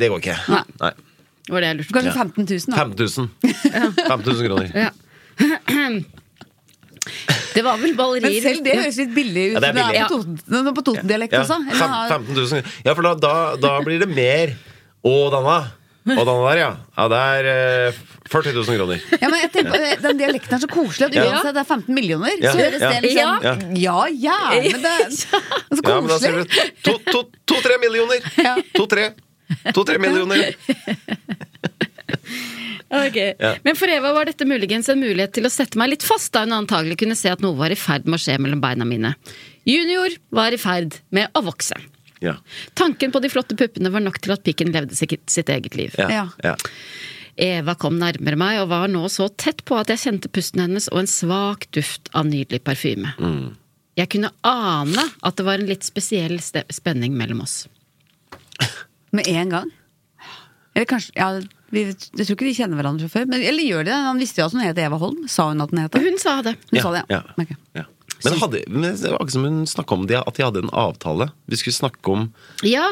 D: det går ikke.
A: Nei.
D: Nei.
B: Det var det jeg lurte på.
A: Kanskje 15 000, da.
D: 5000. 5000 kroner.
B: Ja. Det var vel
A: Men
B: ballerier
A: selv det høres litt billig ut.
D: Ja, det er billig.
A: når på Toten- når det er på Toten-dialekt
D: Ja,
A: også.
D: fem-
A: Eller har-
D: 15 000. ja for da, da, da blir det mer. Å, Danna. Å, Danna der, ja. ja det er eh, 40 000 kroner.
A: Ja, men jeg tenker, på- Den dialekten er så koselig at
B: Ja.
A: uansett det er 15 millioner,
D: Ja.
A: så høres det litt
B: Ja.
A: sånn Ja, gjerne! Det er så
D: Ja, men da sier du
A: koselig.
D: to- to- to-tre millioner.
A: Ja.
D: To-tre to, tre millioner.
B: Ok.
D: Ja.
B: Men for Eva var dette muligens en mulighet til å sette meg litt fast, da hun antagelig kunne se at noe var i ferd med å skje mellom beina mine. Junior var i ferd med å vokse.
D: Ja.
B: Tanken på de flotte puppene var nok til at pikken levde sitt, sitt eget liv.
A: Ja.
D: ja.
B: Eva kom nærmere meg og var nå så tett på at jeg kjente pusten hennes og en svak duft av nydelig parfyme. Jeg kunne ane at det var en litt spesiell ste- spenning mellom oss.
A: Med en gang? Eller kanskje ja, vi, Jeg tror ikke de kjenner hverandre fra før. Men, eller gjør de det? Han visste jo at hun het Eva Holm. Sa hun at hun het det?
B: Hun sa det.
A: Hun sa det, ja.
D: ja.
A: Ok.
D: ja. Men, hadde, men det var ikke som hun snakka om det, at de hadde en avtale. Vi skulle snakke om
B: Ja,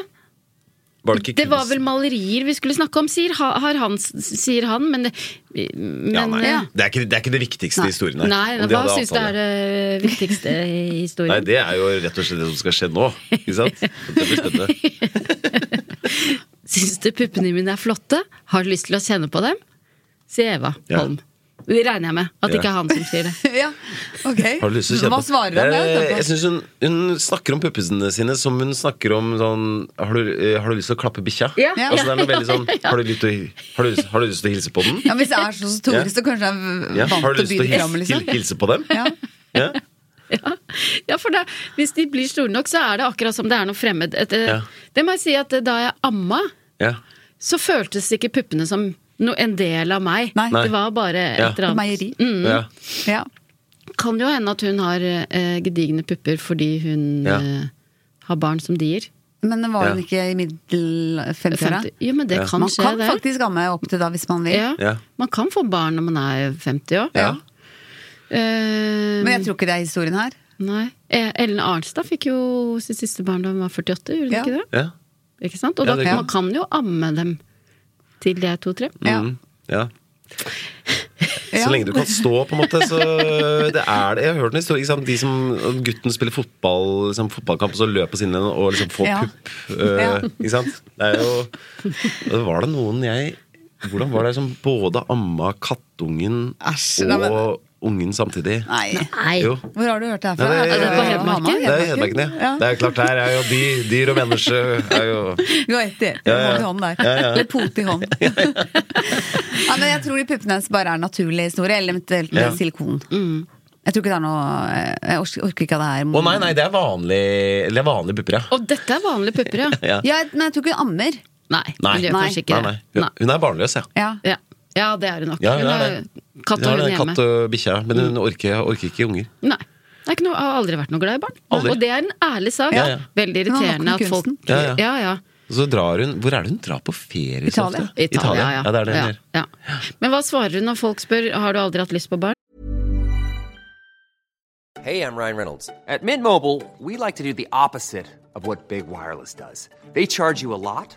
D: Var det ikke
B: Det var
D: kunst-
B: vel malerier vi skulle snakke om, sier, ha- har han, sier han, men, men
D: ja, nei.
B: ja.
D: Det, er ikke, det er ikke det viktigste i historien. her,
B: Nei,
D: om de
B: hva
D: hadde
B: syns du
D: avtale.
B: er eh, det viktigste i
D: Nei,
B: historien?
D: det er jo rett og slett det som skal skje nå. Ikke sant? Det blir spennende.
B: Syns du puppene mine er flotte? Har du lyst til å kjenne på dem? Sier Eva
D: Ja.
B: Holm. Det regner jeg med at det
D: Ja.
B: ikke er han som sier det.
A: ja. Ok.
D: Har du lyst til å kjenne
A: Hva
D: på-
A: svarer han det?
D: Eh, Jeg
A: etterpå?
D: synes hun, hun snakker om puppene sine som hun snakker om sånn Har du, eh, har du lyst til å klappe bikkja?
B: Ja.
A: Ja.
D: Altså, det er noe veldig sånn Har du lyst til, å- har du, lyst- har du lyst til å hilse på den?
A: Ja, hvis det er så store,
D: Ja.
A: så kanskje jeg er
D: Ja.
A: vant
D: Har du
A: til å
D: lyst
A: by
D: til å
A: det fram,
D: hilse,
A: liksom.
D: hilse på dem?
A: Ja.
D: Ja.
B: Ja, ja for da, hvis de blir store nok, så er det akkurat som det er noe fremmed. Et, eh,
D: Ja.
B: Det må jeg si at eh, da jeg amma,
D: Ja.
B: så føltes ikke puppene som no, en del av meg.
A: Nei.
B: Det var bare et
D: Ja.
B: eller annet.
A: Meieri.
D: Ja.
B: Mm.
A: Ja.
B: Kan jo hende at hun har eh, gedigne pupper fordi hun
D: Ja.
B: eh, har barn som dier.
A: Men det var
D: Ja.
A: hun ikke i middel 50-åra?
B: Femti- Jo, men det
D: Ja.
B: kan
A: Man
B: skje,
A: kan
B: det.
A: faktisk amme opp til da hvis man vil.
B: Ja.
D: Ja.
B: Man kan få barn når man er 50 òg.
D: Ja.
A: Men jeg tror ikke det er historien her.
B: Nei. Eh, Ellen Arnstad fikk jo sitt siste barn da hun var 48, gjorde hun
A: Ja.
B: ikke det?
D: Ja.
B: Ikke sant? Og
D: Ja,
B: da
D: det kan-
B: man kan jo amme dem til de er to-tre.
A: Ja.
D: Mm. ja.
A: Ja.
D: Så lenge du kan stå, på en måte. Så det er det. Jeg har hørt en historie. Ikke sant? De som, gutten spiller fotball, liksom, fotballkamp, og så løper sinnene og liksom får
A: Ja.
D: pupp. øh,
A: Ja.
D: Ikke sant? Det er jo Var det noen jeg Hvordan var det som både amma kattungen
A: Æsj,
D: og
A: nei, men-
D: ungen samtidig?
A: Nei.
B: Nei. Altså,
D: Jo.
A: Hvor har du hørt det her
D: Nei,
A: fra?
D: det-
A: Er
B: På Hedmarken?
A: Hamar?
D: Det er Hedmarken, ja. Det er jo klart, der er jo dyr, dyr og menneske er jo
A: Du har ett i.
D: Ja, ja.
A: Hånd i hånd der. Eller pot i hånd. ja, men jeg tror de puppene hennes bare er naturlig store, eller eventuelt med
D: Ja.
A: silikon.
B: Mm.
A: Jeg tror ikke det er noe eh, Jeg orker orker ikke av det her.
D: Å nei, nei, det er vanlig Det er vanlige pupper, ja.
B: Og dette er vanlige pupper, ja.
D: ja.
A: Ja, men jeg tror ikke hun ammer.
B: Nei,
D: Nei.
B: hun gjør
A: Nei.
B: kanskje ikke
D: Nei, nei.
B: det.
D: Hun, hun er barnløs, ja.
A: Ja.
B: Ja. ja, det er hun nok.
D: Ja, hun
B: hun
D: er
B: har
D: det.
B: katt
D: Ja,
B: og
D: det
B: hund
D: er
B: hjemme. Mm.
D: Katt og bikkje, men hun orker, orker ikke unger.
B: Nei. Det er ikke noe, jeg har aldri vært noe glad i barn.
D: Aldri.
B: Og det er en ærlig sak.
D: Ja, ja.
B: Veldig
A: Men han har
B: irriterende
A: nok med
B: at folk
A: kunsten.
D: Ja, ja.
B: ja, ja.
D: Og så drar hun Hvor er det hun drar på ferie så
A: Italia.
D: ofte?
B: Italia,
D: Ja. det er det hun gjør.
B: Ja, ja. Men hva svarer hun når folk spør har du aldri hatt lyst på barn?
C: Hey, I'm Ryan Reynolds. At Mint Mobile, we like to do the opposite of what Big Wireless does. They charge you a lot,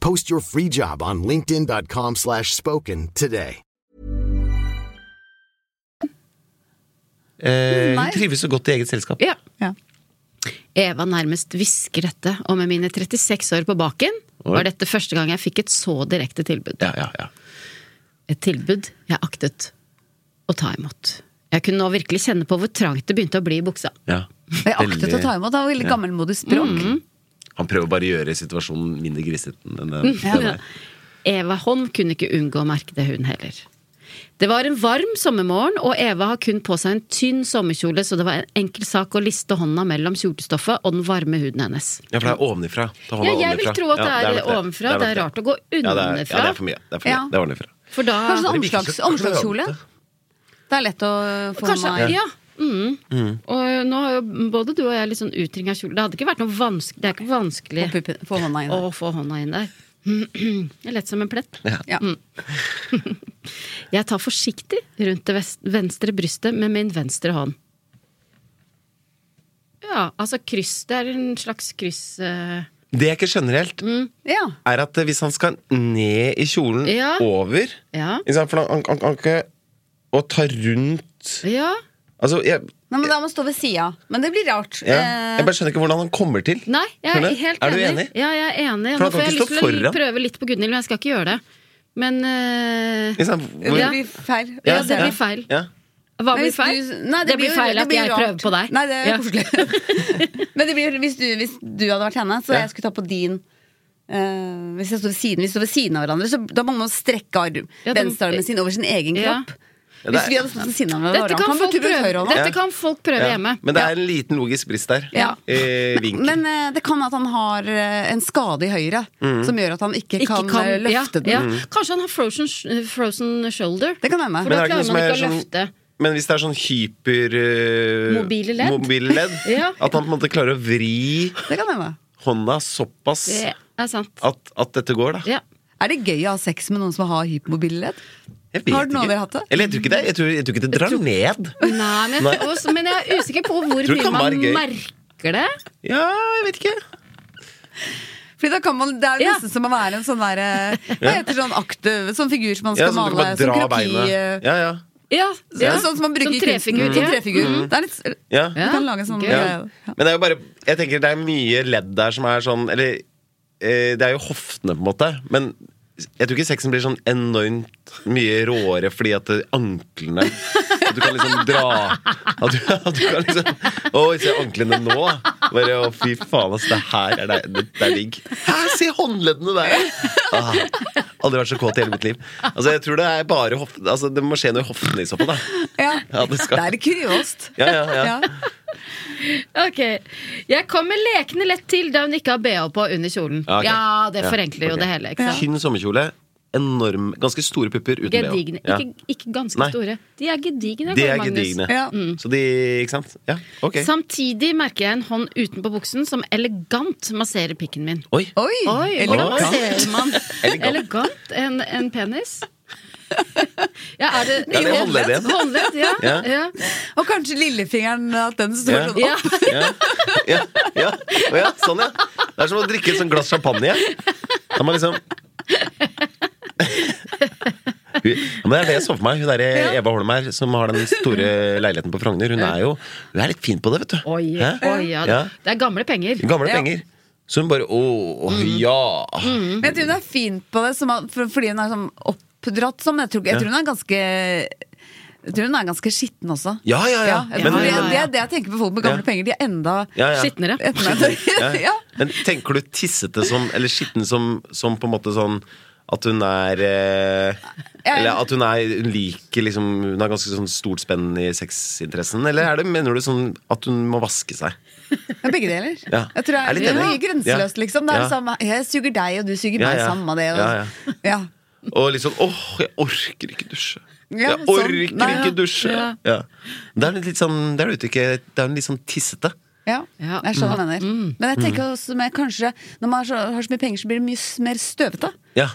F: Post your free job on linkedin.com/spoken slash spoken today.
D: Eh,
A: Nei.
D: hun trives så godt i eget selskap.
B: Mm, Ja.
A: Ja.
B: Eva nærmest hvisker dette, og med mine 36 år på baken
D: Oi.
B: var dette første gang jeg fikk et så direkte tilbud.
D: Ja, ja, ja.
B: Et tilbud jeg aktet å ta imot. Jeg kunne nå virkelig kjenne på hvor trangt det begynte å bli i buksa.
D: ja.
A: Jeg aktet å ta imot. Det var veldig gammelmodig språk.
D: Mm. Han prøver bare å gjøre situasjonen mindre grisete enn den
B: Mm,
D: den er.
B: Eva Holm kunne ikke unngå å merke det, hun heller. Det var en varm sommermorgen, og Eva har kun på seg en tynn sommerkjole, så det var en enkel sak å liste hånda mellom kjolestoffet og den varme huden hennes.
D: Ja, for det er ovenifra. Ta hånda
B: Ja, jeg vil
D: ovenifra.
B: tro at det er
D: nok
B: ovenfra.
D: nok
B: Det er rart å gå
D: Ja, det er- Ja,
B: underfra.
D: det er for mye. Det er, for mye.
A: Ja.
D: Det er ovenifra.
B: For da
A: Kanskje sånn
D: Men det virker
A: omslags,
D: så-
A: omslagskjole? Det er lett å få
B: Kanskje,
D: sånn-
A: meg
B: ja. Mm. Og nå har jo både du og jeg litt sånn utringa kjole. Det hadde ikke vært noe vanskelig Det er ikke vanskelig
A: Få puppen- få hånda inn.
B: å få hånda inn der. Det er Lett som en plett.
A: Ja.
B: Jeg tar forsiktig rundt det vest- venstre brystet med min venstre hånd. Ja, altså kryss Det er en slags kryss eh,
D: Det jeg ikke skjønner helt,
B: Mm.
A: ja.
D: er at eh, hvis han skal ned i kjolen
B: Ja.
D: over
B: Ja.
D: ikke sant, For han- han han kan ikke Å ta rundt
B: Ja.
D: Altså, jeg
A: Nei, men da må man stå ved sida. Men det blir rart.
D: Ja.
A: Eh,
D: Jeg bare skjønner ikke hvordan han kommer til.
B: Nei, jeg
D: Skjønner
B: er
D: du?
B: helt
D: Er du
B: enig.
D: enig?
B: Ja, jeg er enig. Nå
D: For han
B: får
D: kan
B: jeg
D: ikke
B: lyst
D: stå
B: til å li-
D: foran.
B: prøve litt på Gunhild, men jeg skal ikke gjøre det. Men eh,
D: Ikke sant? Hvor-
A: det
B: Ja.
A: blir feil.
B: Ja,
A: Jeg ser
B: det blir
A: det.
B: feil.
D: Ja.
B: Hva
A: Men
B: blir
A: hvis
B: feil?
A: du- nei,
B: det, blir
A: jo-
B: feil
A: det
B: at
A: blir
B: jeg
A: rart.
B: prøver på deg.
A: Nei, det er
B: Ja.
A: koselig. Men det blir, hvis, du, hvis du hadde vært henne, så
D: Ja.
A: jeg skulle ta på din eh, hvis, jeg står ved siden, hvis vi står ved siden av hverandre, så da må man strekke arm,
B: Ja, da-
A: venstrearmen sin over sin egen
B: Ja.
A: kropp.
D: Ja, det
A: Hvis
D: er-
A: vi hadde stått ved siden av
B: Dette
A: hverandre,
B: kan,
A: han
B: folk
A: putte ut
B: prøve,
A: høyrehånda.
B: dette kan folk prøve
D: Ja.
B: hjemme.
D: Men det er en liten logisk brist der.
A: Ja.
D: Eh, vinkel.
A: Men eh, det kan at han har eh, en skade i høyre
D: Mm.
A: som gjør at han ikke,
B: Ikke
A: kan, eh,
B: ja,
A: løfte den.
B: ja. Kanskje han har frozen, sh- frozen shoulder.
A: Det kan hende.
B: For da
D: er det
B: klarer
D: noe som
B: man
D: er
B: ikke å løfte.
D: men hvis det er sånn hyper eh,
B: Mobile ledd?
D: mobile ledd,
B: Ja.
D: At man på en måte klarer å vri
A: Det kan hende.
D: hånda såpass
B: Det er sant.
D: Ah. at, at dette går, da.
B: Ja.
A: Er det gøy å ha sex med noen som har hypermobilitet?
D: Jeg vet
A: Har du noe
D: ikke.
A: dere hatt det?
D: Eller jeg tror ikke det. Jeg tror, jeg tror ikke det drar ned.
B: Nei, men, jeg, tror også- men jeg er usikker på hvor
D: Tror det
B: mye
D: kan
B: man
D: være gøy.
B: merker det.
D: Ja, jeg vet ikke.
A: Fordi da kan man, Det er jo
B: Ja.
A: nesten som å være en sånn der, eh, hva heter sånn aktiv Sånn figur som man
D: Ja,
A: skal
D: sånn at
A: male.
D: du bare
A: Sånn
D: drar
A: kroki...
D: beinet.
A: eh,
D: Ja, ja.
B: Ja,
A: Ja, sånn som man bruker i kunsten.
B: trefigur.
A: Sånn
B: ja.
A: trefigur. Det er litt, eh,
D: Ja.
A: Du kan lage sånn
B: Gøy.
D: Ja.
A: greie.
D: Men det er jo bare Jeg tenker det er mye ledd der som er sånn Eller eh, det er jo hoftene, på en måte. Men jeg tror ikke sexen blir sånn enormt mye råere fordi at det- anklene At du kan liksom dra At du, at du kan liksom Å, se anklene nå! Bare, å, fy faen, altså. Det her er, det, det, det er digg. Hæ, se håndleddene der! Ah, aldri vært så kåt i hele mitt liv. Altså, jeg tror det er bare hoftene altså, Det må skje noe i hoftene i så fall, da.
A: Ja.
D: Ja, det
A: Det
D: skal
A: er litt kuriost.
D: Ja, ja, ja.
B: Ok. Jeg kommer lekende lett til da hun ikke har bh på under kjolen.
D: Ja, Ah, ok.
B: Ja, det
D: Ja,
B: forenkler jo
D: ok.
B: det hele. Ikke sant?
D: Tynn sommerkjole, enorm, ganske store pupper uten bh.
B: Gedigne.
D: Ja.
B: Ikke, ikke ganske
D: Nei.
B: store. De er gedigne.
D: De
B: Karl
D: er
B: Magnus.
D: gedigne. Mm.
A: Ja.
D: Så de Ikke sant? Ja, ok.
B: Samtidig merker jeg en hånd utenpå buksen som elegant masserer pikken min.
D: Oi!
A: Oi!
B: Oi, hvordan
D: Elegant.
B: ser man
D: Elegant.
B: elegant en, en penis? Ja, er det,
D: Ja, det er håndledd igjen.
B: Håndledd, ja. ja.
D: Ja.
A: Og kanskje lillefingeren, at den står
D: Ja.
A: sånn opp.
D: Ja. Ja. Ja. Å ja, sånn, ja. Det er som å drikke et sånt glass champagne. Ja. Da må man liksom Hun- ja, men Det er det jeg så for meg. Hun der Eva Holm her, som har den store leiligheten på Frogner. Hun er jo hun er litt fin på det, vet du.
B: Oi,
D: Hæ?
B: oi, ja.
D: Ja.
B: Det er gamle penger.
D: Gamle
A: Ja.
D: penger. Så hun bare Å,
B: Mm.
D: ja!
A: Men jeg tror hun er fin på det, som, at- for, fordi hun er sånn oppdratt som Jeg tror, jeg tror hun er ganske jeg tror hun er ganske skitten også.
D: Ja, ja, ja.
A: jeg
D: Men-
A: tror det,
B: ja, ja.
A: det er det jeg tenker på folk med gamle
D: Ja.
A: penger. De er enda
D: Ja, ja.
B: Skitnere.
A: ja.
D: Ja. Men tenker du tissete som Eller skitten som, som på en måte sånn at hun er eh,
A: Ja,
D: Eller at hun er Hun liker liksom Hun har ganske sånn stort spenn i sexinteressen? Eller er det, mener du sånn at hun må vaske seg?
A: Ja, begge deler.
D: Ja.
A: Jeg tror
D: Jeg er
A: jeg,
D: litt
A: det er
D: enig.
A: mye grenseløst,
D: Ja.
A: liksom. Det er
D: Ja.
A: det samme Jeg suger deg, og du suger
D: Ja,
A: meg.
D: ja.
A: Samme det. Og,
D: Ja,
A: ja.
D: Og litt sånn åh, jeg orker ikke dusje.
A: Ja,
D: jeg
A: sånn.
D: orker
A: Nei, ja.
D: ikke dusje!
B: Ja.
D: Ja. Det er hun litt sånn Det er hun ikke Det er hun litt sånn tissete.
A: Ja,
B: Ja.
A: jeg skjønner hva du mener. Men jeg
D: Mm.
A: tenker også med kanskje når man har så, har så mye penger, så blir det mye s- mer støvete.
D: Ja.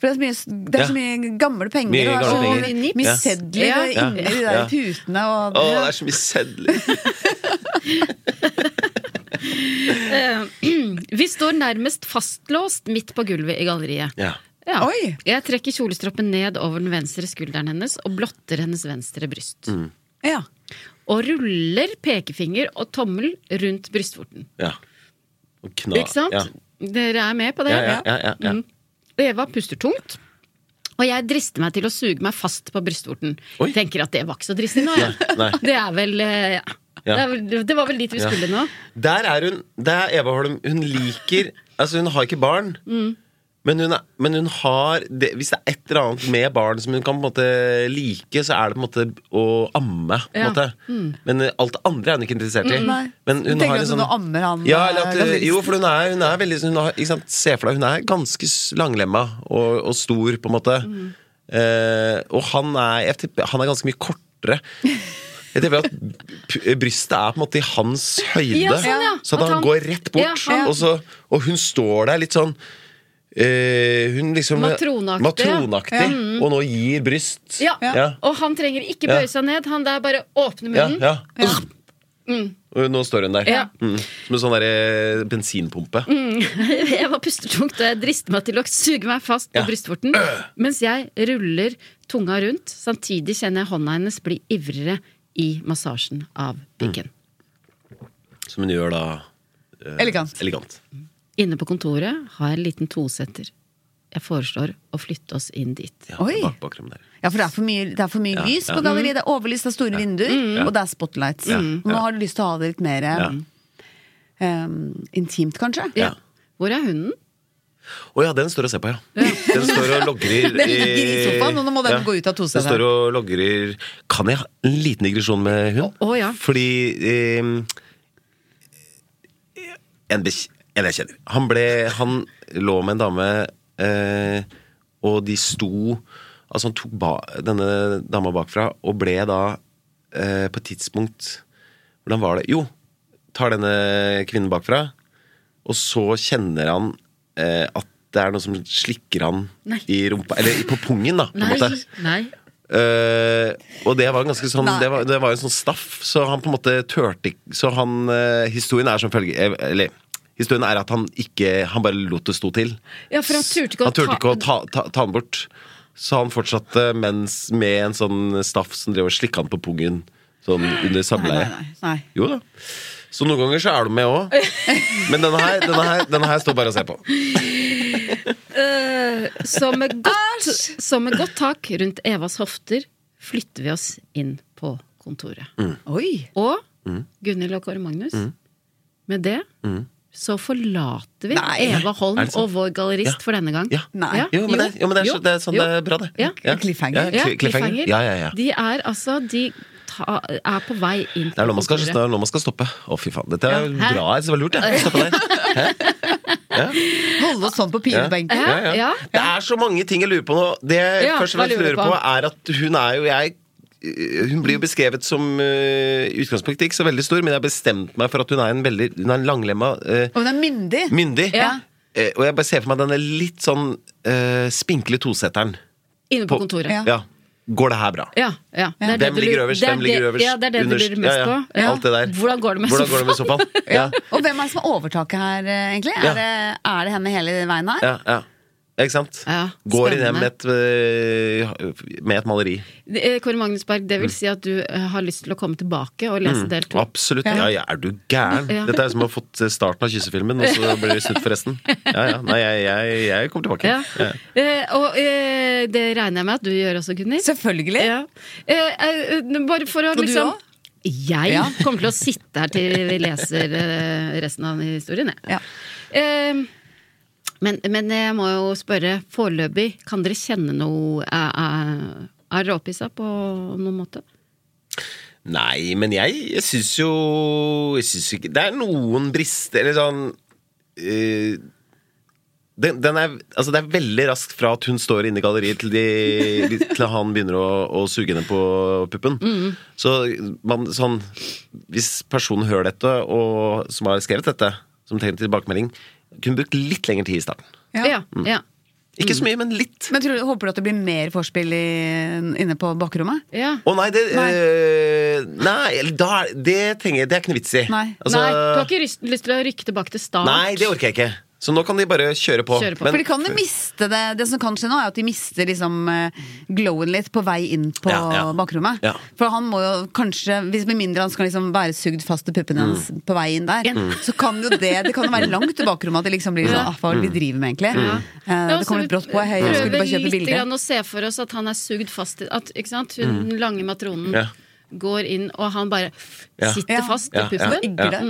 A: For det er så mye, det er så mye gamle penger, og det
D: Mye
A: er
D: gamle
A: så
D: penger.
A: mye,
B: Ja.
A: mye sedler
B: Ja.
A: og inni de der
D: Ja.
A: putene og
D: Å, det er så mye sedler.
B: Vi står nærmest fastlåst midt på gulvet i galleriet.
D: Ja.
B: Ja.
A: Oi.
B: Jeg trekker kjolestroppen ned over den venstre skulderen hennes og blotter hennes venstre bryst.
D: Mm.
A: ja.
B: Og ruller pekefinger og tommel rundt brystvorten.
D: ja. Og kna.
B: Ikke sant?
D: Ja.
B: Dere er med på det?
D: Ja, ja, ja, ja, ja.
B: Mm. Eva puster tungt. Og jeg drister meg til å suge meg fast på brystvorten.
D: Oi.
B: Tenker at det var ikke så dristig nå, jeg.
D: Nei, nei.
B: Det er vel eh, ja.
D: Ja.
B: Det, er vel, det var vel dit vi
D: Ja.
B: skulle nå.
D: Der er hun Det er Eva Holm. Hun liker Altså, hun har ikke barn. Men, hun er, men hun har det, Hvis det er et eller annet med barn som hun kan på en måte like, så er det på en måte å amme. På en
B: Ja. Mm.
D: måte. Men eh, alt det andre er hun ikke interessert i.
A: Nei.
D: Men
A: Du
D: hun
A: tenker
D: har
A: at
D: en
A: hun
D: sånn
A: ammer han,
D: ja, eller
A: eh,
D: at,
A: galerist.
D: Jo, for hun er, hun er veldig hun har, ikke sant, Se for deg, hun er ganske s- langlemma og, og stor, på en måte.
B: Mm.
D: Eh, og han er, jeg tipper, han er ganske mye kortere. Jeg tipper at p- brystet er på en måte i hans høyde.
B: Ja, sånn, ja.
D: Så at
B: At
D: han,
B: han-
D: går rett bort,
B: Ja, han-
D: og, så, og hun står der litt sånn eh, Hun liksom
B: Matroneaktig, ja.
D: matronaktig, og nå gir bryst.
B: Ja.
D: Ja.
B: Og han trenger ikke
D: Ja.
B: bøye seg ned. Han der bare åpner
D: Ja,
B: munnen.
D: ja. Og nå står hun der.
B: Ja. Mm.
D: Mm. Som en sånn der, eh, bensinpumpe.
B: Jeg var pustetungt, og jeg drister meg til å suge meg fast på
D: Ja.
B: brystvorten. Mens jeg ruller tunga rundt. Samtidig kjenner jeg hånda hennes bli ivrigere i massasjen av
D: Mm.
B: pikken.
D: Som hun gjør da eh,
A: Elegant.
D: elegant.
B: Inne på kontoret har jeg en liten tosetter. Jeg foreslår å flytte oss inn dit.
D: Ja,
A: Oi.
D: bak- bakrom der.
A: Ja, for det er for mye, det er for mye
D: Ja,
A: lys
D: ja. Mm.
A: på galleriet. Det er overlyst, det er store vinduer, og det er spotlights.
D: Ja,
A: Og Nå har du lyst til å ha det litt mer
D: Ja.
A: em, intimt, kanskje.
D: Ja.
B: Hvor er hunden?
D: Å ja, den står og ser på, ja. Den står og logrer
A: Den ligger i sofaen, og nå må den gå ut av altså. tostedet.
D: Den står og logrer Kan jeg ha en liten digresjon med hund?
B: Å, ja.
D: Fordi eh, en, bekj- en jeg kjenner han, ble, han lå med en dame, eh, og de sto Altså, han tok ba, denne dama bakfra, og ble da eh, på et tidspunkt Hvordan var det? Jo, tar denne kvinnen bakfra. Og så kjenner han eh, at det er noe som slikker han
B: Nei.
D: i rumpa Eller i- på pungen, da, på en
B: Nei,
D: måte.
B: nei.
D: Eh, og det var en ganske sånn
A: Nei.
D: det var, det var en sånn staff, så han på en måte tørte ikke Så han eh, Historien er som følger eh, Eller historien er at han ikke Han bare lot det stå til.
B: Ja, for han turte ikke å
D: han turte
B: ta-
D: ikke å ta, ta, ta den bort. Så han fortsatte mens, med en sånn staff som drev og slikka han på pungen sånn under
A: Nei,
D: samleie.
A: nei, nei.
D: Jo da. Så noen ganger så er du med òg. Men denne her, denne, her, denne her står bare og ser på.
B: Eh, så, med godt, så med godt tak rundt Evas hofter flytter vi oss inn på kontoret.
D: Mm.
A: Oi!
B: Og Gunhild og Kåre Magnus. Med det så forlater vi
A: Nei.
B: Eva Holm
D: Mm. Er det sant?
B: og vår gallerist
D: Ja.
B: for denne gang.
D: Ja.
A: Nei.
D: Jo, men, det, jo, men det, er, så- det er sånn
B: Jo.
D: det er bra, det.
B: Ja.
A: Cliffhanger.
D: Ja,
B: Ja,
D: cli- cliffhanger. Ja, ja, ja.
B: De er altså De ta, er på vei inn
D: Det er nå man skal,
B: kontoret.
D: det er nå man skal stoppe. Å, fy faen. Dette er
B: Ja. Hæ?
D: bra. Jeg synes det var lurt, jeg. Stoppe der.
A: Holde oss sånn på pinebenken.
B: Ja, ja.
D: Det er så mange ting jeg lurer på nå. Det jeg
B: Ja,
D: først og
B: hva
D: fremst
B: lurer du
D: lurer på,
B: på?
D: er at hun er jo jeg hun blir jo beskrevet som øh, i utgangspunktet ikke så veldig stor, men jeg har bestemt meg for at hun er en veldig Hun er en langlemma øh,
A: Og hun er myndig.
D: myndig.
B: Ja.
D: Eh, og jeg bare ser for meg denne litt sånn øh, spinkle tosetteren.
B: Inne på, kontoret.
D: Ja. Går det her bra?
B: Ja, ja. Det er det
D: Hvem
B: du
D: ligger
B: lurer-
D: øverst?
B: det er
D: Hvem ligger
B: det-
D: øverst?
B: Ja, det er det
D: Underst?
B: du lurer mest
D: ja, ja.
B: på. Ja.
D: Alt det der.
B: Hvordan går det med
D: Hvordan går det med
B: sofaen?
D: sofaen? Ja.
A: Og hvem er det som har overtaket her, eh, egentlig?
D: Ja.
A: Er, det, er det henne hele veien her?
D: Ja, ja. Ikke sant?
B: Ja,
D: Går inn hjem
B: spennende.
D: med et, øh, med et maleri.
B: Eh, Kåre Magnus Berg, det vil si at du eh, har lyst til å komme tilbake og lese del to.
D: Mm. Absolutt. Ja, ja, er du gæren?
B: Ja.
D: Dette er som å ha fått starten av kyssefilmen, og så blir det snudd for resten. Ja, ja. Nei, jeg, jeg, jeg kommer tilbake.
B: Ja. Eh, og eh, det regner jeg med at du gjør også, Gunnhild.
A: Selvfølgelig.
B: Ja. Eh, eh, bare for å
A: du
B: liksom
A: også?
B: Jeg
A: Ja.
B: kommer til å sitte her til vi leser eh, resten av historien, jeg.
A: Ja.
B: Eh, men, men jeg må jo spørre foreløpig, kan dere kjenne noe Er, er, er dere oppissa på noen måte?
D: Nei, men jeg, jeg syns jo jeg synes ikke, Det er noen brister, eller sånn eh, den, den er, altså Det er veldig raskt fra at hun står inne i galleriet, til, de, til han begynner å, å suge henne på puppen.
A: Mm.
D: Så man, sånn, hvis personen hører dette, og som har skrevet dette, som trenger tilbakemelding, kunne brukt litt lengre tid i starten.
A: Ja.
B: Ja. ja.
D: Ikke så mye, men litt.
A: Mm. Men tror du, håper du at det blir mer vorspiel i, inne på bakrommet?
B: ja.
D: Å nei, det
A: Nei.
D: eh, Nei, eller da, er- det trenger jeg Det er ikke noe vits i.
A: Nei.
D: Altså-
B: Nei, du har ikke lyst, lyst til å rykke tilbake til start?
D: Nei, det orker jeg ikke. Så nå kan de bare kjøre på.
B: Kjøre på.
A: For de kan jo miste det. Det som kan skje nå, er at de mister liksom eh, glowen litt på vei inn på
D: Ja, ja.
A: bakrommet.
D: Ja.
A: For han må jo kanskje, hvis med mindre han skal liksom være sugd fast til puppene hennes
D: Mm.
A: på vei inn der, så kan jo det Det kan jo være langt til bakrommet at det liksom blir sånn ah, Hva er
D: Mm.
A: det vi driver med, egentlig? Eh,
B: Ja,
A: det
B: så
A: kommer
B: vi
A: brått på. Jeg skulle bare kjøpe
B: Prøver litt
A: bilde.
B: grann å se for oss at han er sugd fast i at, ikke sant? Hun lange matronen
D: Mm. Ja.
B: går inn, og han bare
D: Ja.
B: sitter
A: Ja.
B: fast
D: Ja, Mm.
B: i puppen.
A: Digger det.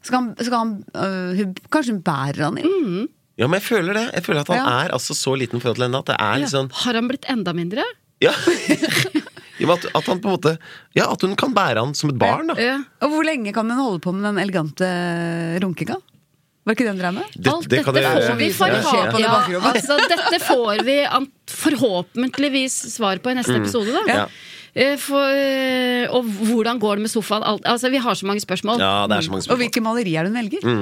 A: Så kan, så kan Mm. han øh, hun, Kanskje hun bærer han
B: Mm.
A: inn?
D: Ja, men jeg føler det. Jeg føler at han
A: Ja.
D: er altså så liten forhold til henne at det er litt sånn
B: Har han blitt enda mindre?
D: Ja. Jo, men At, at han på en måte Ja, at hun kan bære han som et barn, da.
B: Ja.
A: Og hvor lenge kan hun holde på med den elegante runkinga? Var ikke det hun drev med?
D: Det,
B: Alt
D: det
B: dette
D: kan jeg-
B: får vi
A: Ja,
B: forhåpentligvis
A: ja.
B: ja, altså, Dette får vi an- forhåpentligvis svar på i neste episode, da.
D: Mm. Ja.
B: Eh, For, eh, og hvordan går det med sofaen? Alt, altså, vi har så mange spørsmål.
D: Ja, det er så mange
A: Og
D: spørsmål.
A: hvilke malerier er det hun velger?
B: Ja,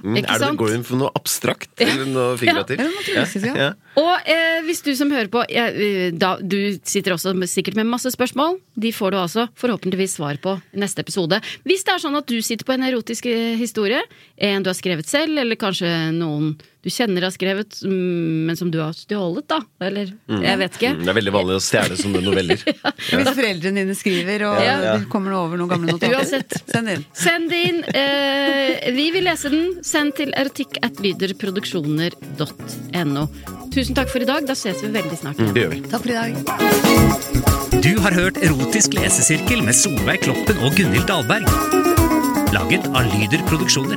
D: Mm,
B: ikke
D: er det,
B: sant?
D: går hun for noe abstrakt? Eller noe figurativt?
A: Ja, det tror jeg synes, ja.
B: Og eh, hvis du som hører på, eh, eh, da, du sitter også med, sikkert med masse spørsmål. De får du altså forhåpentligvis svar på i neste episode. Hvis det er sånn at du sitter på en erotisk eh, historie, en du har skrevet selv, eller kanskje noen du kjenner har skrevet, mm, men som du har stjålet, da. Eller jeg vet ikke.
D: Mm, Det er veldig vanlig å stjele sånne noveller.
A: Hvis foreldrene dine skriver, og
B: Ja,
D: ja.
A: du kommer over noen gamle notater.
B: Uansett.
A: Send inn.
B: Send det inn. Eh, vi vil lese den. Send til erotikkatlyderproduksjoner.no. Tusen takk for i dag. Da ses vi veldig snart igjen.
D: Det gjør vi.
A: Takk for i dag.
E: Du har hørt Erotisk lesesirkel med Solveig Kloppen og Gunhild Dahlberg. Laget av Lyder Produksjoner.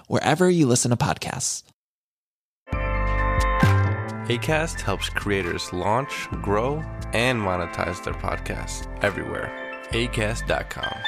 G: wherever you listen to podcasts.
H: ACAST helps creators launch, grow, and monetize their podcasts everywhere. ACAST.com.